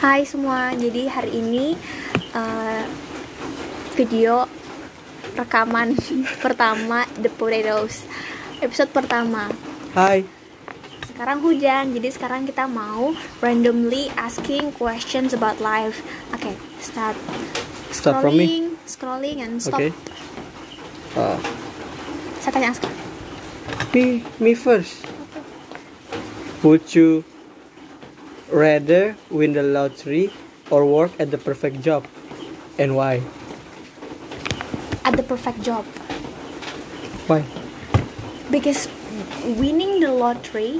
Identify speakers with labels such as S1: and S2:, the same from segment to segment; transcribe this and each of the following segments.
S1: Hai semua, jadi hari ini eh, video rekaman pertama The Potatoes episode pertama.
S2: Hai,
S1: Sekarang hujan, jadi sekarang kita mau randomly asking questions about life. Oke, start.
S2: Start from me.
S1: Scrolling, scrolling and stop.
S2: okay. Uh,
S1: Saya tanya sekarang.
S2: me, me first. Would you rather win the lottery or work at the perfect job, and why?
S1: At the perfect job,
S2: Why?
S1: because winning the lottery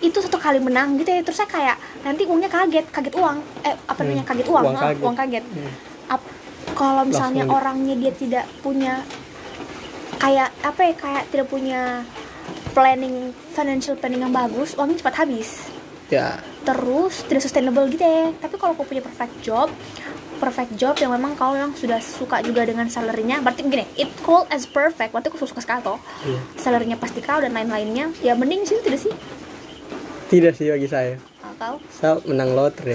S1: itu satu kali menang gitu ya terus saya kayak nanti uangnya kaget kaget uang eh apa namanya
S2: Hmm,
S1: kaget uang
S2: uang
S1: ha,
S2: kaget.
S1: uang kaget
S2: Hmm.
S1: Ap- kalau misalnya
S2: minute.
S1: orangnya dia tidak punya kayak apa ya kayak tidak punya planning financial planning yang bagus uangnya cepat habis
S2: Ya,
S1: terus tidak sustainable gitu ya tapi kalau aku punya perfect job perfect job yang memang kalau yang sudah suka juga dengan salarynya berarti gini it called as perfect berarti aku suka sekali toh
S2: Iya.
S1: salarynya pasti kau dan lain-lainnya ya mending sih tidak sih
S2: tidak sih bagi saya.
S1: Ah, kau
S2: Saya menang lotre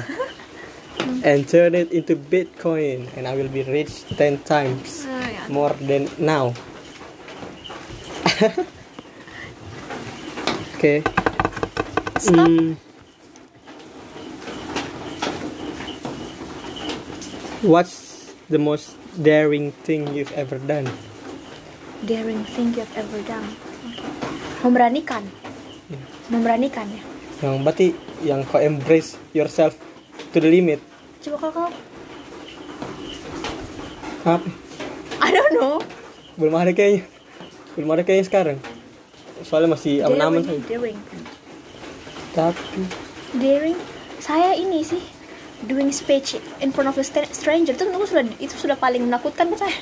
S2: and turn it into Bitcoin, and I will be rich
S1: Ah.
S2: 10 times more than now. okay.
S1: Stop.
S2: Mm. What's the most daring thing you've ever done?
S1: daring thing you have ever done Oke. memberanikan
S2: Iya.
S1: memberanikan ya
S2: Yang berarti yang kau embrace yourself to the limit.
S1: coba kalau kau
S2: Apa?
S1: I don't know
S2: Belum ada kayaknya. Belum ada kayaknya sekarang. Soalnya masih aman-aman
S1: daring,
S2: saja.
S1: daring
S2: Tapi
S1: daring saya ini sih doing speech in front of a stra- stranger itu menurutku sudah itu sudah paling menakutkan buat saya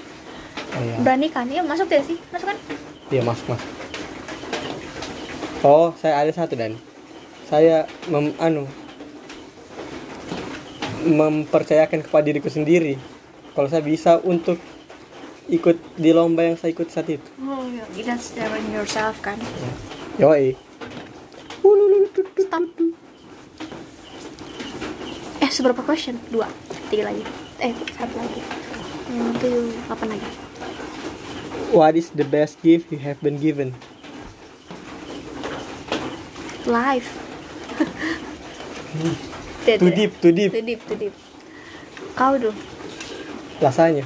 S2: oh ya.
S1: beranikan ya masuk deh sih masuk kan
S2: Iya masuk masuk. Oh saya ada satu dan saya mem anu mempercayakan kepada diriku sendiri kalau saya bisa untuk ikut di lomba yang saya ikut saat itu.
S1: oh ya kita staring yourself kan
S2: Yoi.
S1: stop eh seberapa question dua tiga lagi eh satu lagi Hmm, tujuh delapan lagi
S2: What is the best gift you have been given?
S1: live Tidak,
S2: Too
S1: tidak.
S2: deep, too deep.
S1: too deep too deep kau dulu
S2: Lasanya.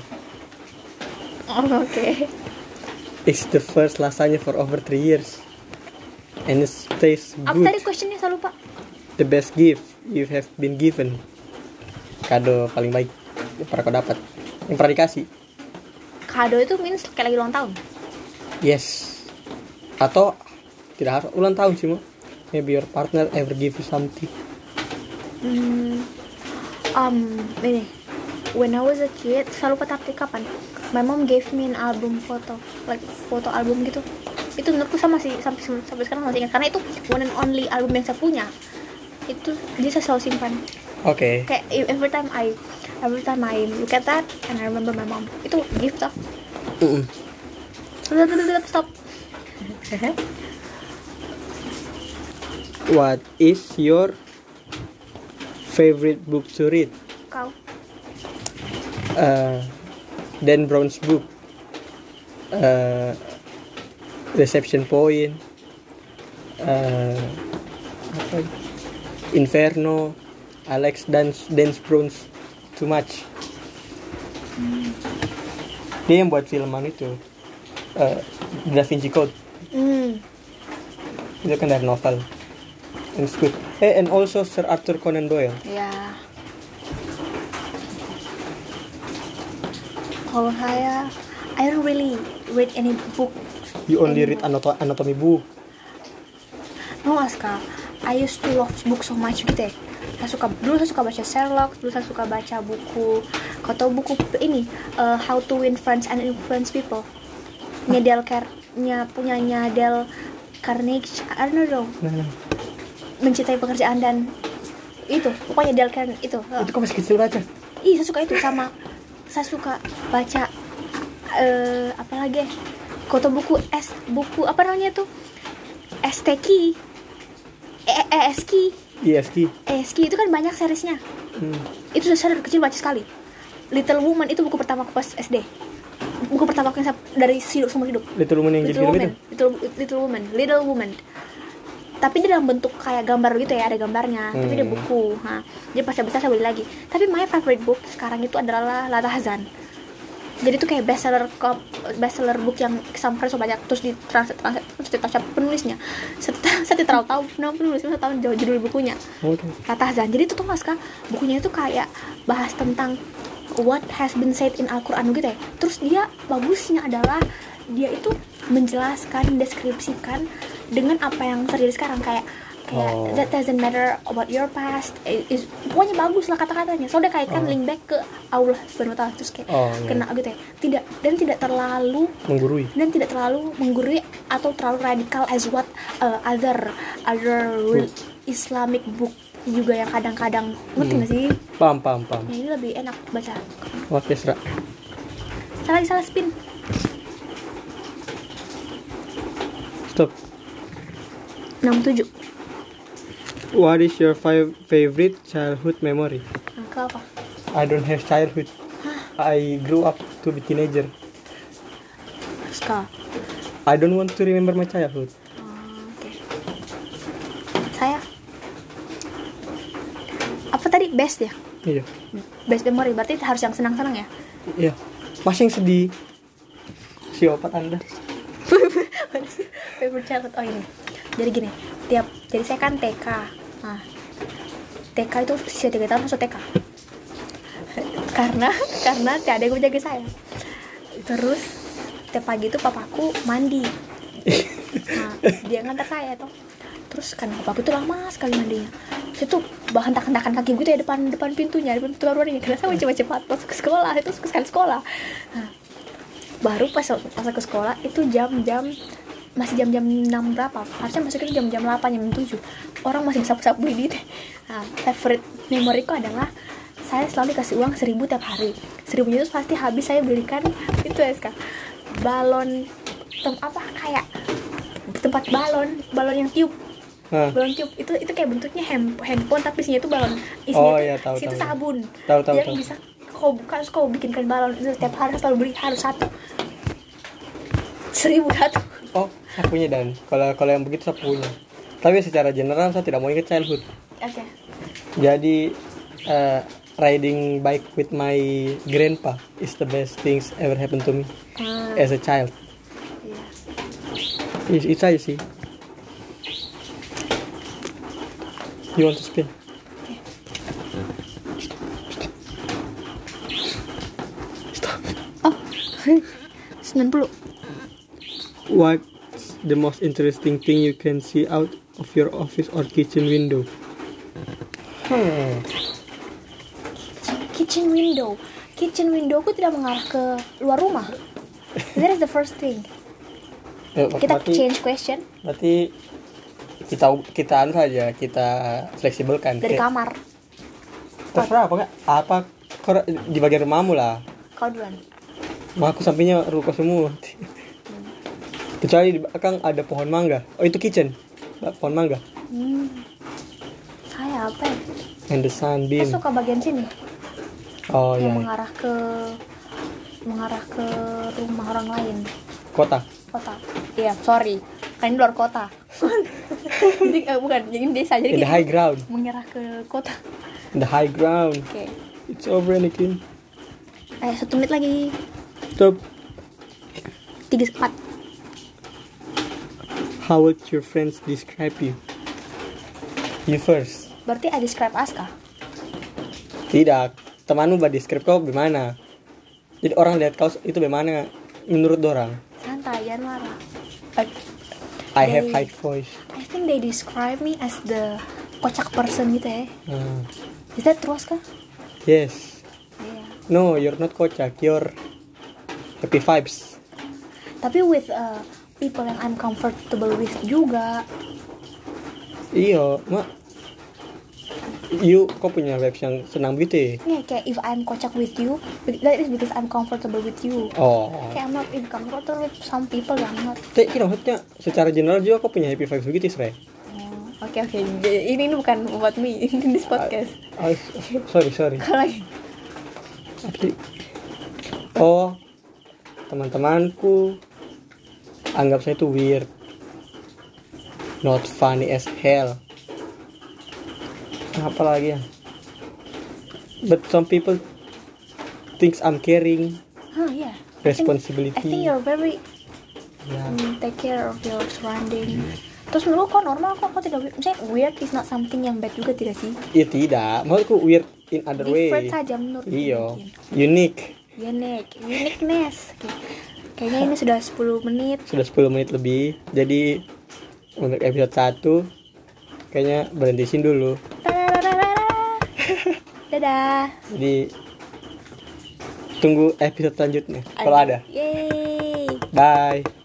S1: Oh, oke
S2: It's the first lasanya for over three years. And it tastes
S1: apa
S2: good.
S1: tadi questionnya saya lupa
S2: The best gift you have been given. Kado paling baik yang pernah kau dapat. Yang pernah dikasih.
S1: kado itu means kayak lagi ulang tahun
S2: Yes. Atau tidak harus ulang tahun sih, Mo. Maybe your partner ever give you something.
S1: Hmm, um, ini. When I was a kid, saya lupa tapi kapan. My mom gave me an album foto, like foto album gitu. Itu menurutku sama sih sampai sampai sekarang masih ingat karena itu one and only album yang saya punya. Itu jadi saya selalu simpan.
S2: Oke.
S1: Kayak e, every time I every time I look at that and I remember my mom. Itu gift of
S2: Mm-mm.
S1: stop.
S2: What is your favorite book to read?
S1: Kau
S2: Uh, Dan Brown's book. Uh, Reception Point. Uh, apa? ya? Inferno. Alex Dance Dance Brown's Too Much. Dia yang buat filman itu. Uh, da Vinci Code.
S1: Hmm.
S2: Itu kan dari novel. And it's good. Eh, and also Sir Arthur Conan Doyle.
S1: Ya. Kalau saya, I don't really read any book.
S2: You only read anato- anatomy book.
S1: No, Aska. I used to love book so much gitu ya. Saya suka dulu saya suka baca Sherlock, dulu saya suka baca buku, kau tahu buku ini uh, How to Win Friends and Influence People. Nyadel Car, nya punyanya Del Carnegie, I don't know,
S2: Nah,
S1: mencintai pekerjaan dan itu, pokoknya Del Carnegie itu. uh.
S2: itu kok masih kecil baca?
S1: Ih, saya suka itu sama saya suka baca eh apa lagi ya? Koto buku es buku apa namanya E, tuh? STK. E- ESK.
S2: ISK. E
S1: ESK itu kan banyak seriesnya.
S2: Hmm.
S1: Itu saya dari kecil baca sekali. Little Woman itu buku pertama aku pas SD. Buku pertama aku yang saya- dari hidup semua hidup.
S2: Little Woman yang jadi
S1: Little
S2: hero
S1: Woman,
S2: itu.
S1: Little, Little Woman, Little Woman. Tapi dia dalam bentuk kayak gambar gitu ya, ada gambarnya. Tapi dia
S2: Hmm.
S1: buku. Ha. Jadi pas saya besar saya beli lagi. Tapi my favorite book sekarang itu adalah Lala Hazan. Jadi itu kayak bestseller cop- bestseller book yang sampai so banyak terus di translate translate terus ditranslate penulisnya. Serta saya tidak terlalu tahu nama penulisnya, saya tahu jauh judul bukunya.
S2: Oke.
S1: Lala Hazan. Jadi itu tuh mas Kak, bukunya itu kayak bahas tentang what has been said in Al-Quran gitu ya. Terus dia bagusnya adalah dia itu menjelaskan, deskripsikan dengan apa yang terjadi sekarang kayak kayak
S2: Oh.
S1: that doesn't matter about your past It is- pokoknya bagus lah kata-katanya soalnya dia kaitkan
S2: Oh.
S1: link back ke Allah subhanahu wa ta'ala terus kayak
S2: Oh, iya.
S1: kena gitu ya tidak dan tidak terlalu
S2: Menggurui.
S1: dan tidak terlalu menggurui atau terlalu radikal as what uh, other other re- Islamic book juga yang kadang-kadang ngerti nggak sih?
S2: Paham, paham, paham.
S1: Nah, ini lebih enak baca.
S2: Oke, Sra.
S1: Salah salah spin.
S2: Stop.
S1: 67.
S2: What is your fi- favorite childhood memory?
S1: Nah, ke apa?
S2: I don't have childhood. I grew up to be teenager.
S1: Ska.
S2: I don't want to remember my childhood.
S1: Oh, Oke. Saya apa tadi best ya?
S2: Iya.
S1: Best memory berarti harus yang senang-senang ya.
S2: Iya. Masih yang sedih. Siopat Anda.
S1: favorite childhood oh ini jadi gini tiap jadi saya kan TK nah TK itu usia tiga tahun masuk TK karena karena tidak ada yang menjaga saya terus tiap pagi itu papaku mandi nah, dia ngantar saya tuh terus karena papaku itu lama sekali mandinya saya tuh bahan hentak-hentakan kaki gitu ya depan depan pintunya depan pintu baru ini karena saya mau cepat-cepat masuk ke sekolah itu suka sekali sekolah nah, baru pas pas aku sekolah itu jam-jam masih jam-jam 6 berapa harusnya masuk itu jam-jam 8 jam 7 orang masih sapu-sapu di nah, favorite memoriku adalah saya selalu dikasih uang seribu tiap hari seribunya itu pasti habis saya belikan itu ya Kak, balon tem apa kayak tempat balon balon yang tiup
S2: Nah,
S1: balon tiup itu itu kayak bentuknya hand- handphone tapi isinya itu balon isinya
S2: Oh,
S1: tuh-
S2: iya, tahu,
S1: isinya tuh
S2: tahu, tahu.
S1: sabun
S2: Tahu, tahu,
S1: yang
S2: tahu.
S1: bisa kau buka harus kau bikinkan balon itu setiap hari harus selalu beli harus satu seribu satu
S2: oh, sapunya dan. Kalau kalau yang begitu sapunya. Tapi secara general saya tidak mau ingat childhood.
S1: oke
S2: Jadi eh, riding bike with my grandpa is the best things ever happened to me
S1: Hmm,
S2: as a child.
S1: iya.
S2: It's, it's aja sih. You want to spin?
S1: oh 90
S2: What's the most interesting thing you can see out of your office or kitchen window? Hmm.
S1: kitchen window kitchen window ku tidak mengarah ke luar rumah that is the first thing kita
S2: Eh, berarti,
S1: change question
S2: berarti kita kita anu saja kita fleksibel kan.
S1: dari kamar
S2: Terserah apa enggak? Apa kor- di bagian rumahmu lah.
S1: kau duluan
S2: Mah aku sampingnya ruko semua. Kecuali di belakang ada pohon mangga. Oh itu kitchen. Pohon mangga.
S1: hmm. saya apa ya?
S2: And the sunbeam.
S1: Saya suka bagian sini
S2: Oh
S1: yang
S2: iya.
S1: mengarah ke mengarah ke rumah orang lain
S2: Kota.
S1: kota iya sorry kan ini luar kota jadi eh, bukan jadi desa jadi
S2: In the
S1: kita
S2: high ground.
S1: mengarah ke kota
S2: In the high ground.
S1: oke
S2: It's over Anakin.
S1: eh satu menit lagi
S2: Stop.
S1: tiga empat
S2: How would your friends describe you? You first.
S1: berarti I describe Aska
S2: Tidak. Temanmu buat describe kau bagaimana? Jadi orang lihat kau itu bagaimana? Menurut orang.
S1: santai jangan marah Eh,
S2: I have
S1: Dari-
S2: high voice.
S1: I think they describe me as the kocak person gitu ya
S2: Ah.
S1: is that true Aska
S2: yes.
S1: iya
S2: No, you're not kocak. You're happy vibes.
S1: tapi with uh, people yang I'm comfortable with juga
S2: Iyo, Iya, mak. You, kau punya vibes yang senang begitu ya?
S1: Yeah, kayak if I'm kocak with you, that is because I'm comfortable with you.
S2: Oh.
S1: Kayak I'm not in comfortable with some people, I'm not.
S2: Tapi kira maksudnya secara general juga kau punya happy vibes begitu, Sre.
S1: Hmm. Oke oke, J- ini, ini bukan buat me, ini this podcast.
S2: Oh, sorry sorry.
S1: Kalau lagi,
S2: Apa sih? Oh, teman-temanku anggap saya itu weird. Not funny as hell. Apa lagi ya? But some people thinks I'm caring,
S1: huh, yeah. I think- I think
S2: responsibility.
S1: you're very
S2: Ya.
S1: mm, take care of your surrounding. Terus menurut kok normal kok, kok tidak weird. Misalnya weird is not something yang bad juga tidak sih?
S2: Iya tidak, maksudku weird in other way.
S1: Different saja menurut
S2: Iya,
S1: mungkin.
S2: unique.
S1: Unique, uniqueness. Oke. Kayaknya ini sudah 10 menit.
S2: Sudah 10 menit lebih. Jadi untuk episode 1 kayaknya berhenti sini dulu.
S1: Tarararara. Dadah.
S2: Jadi tunggu episode selanjutnya kalau ada.
S1: Yeay.
S2: Bye.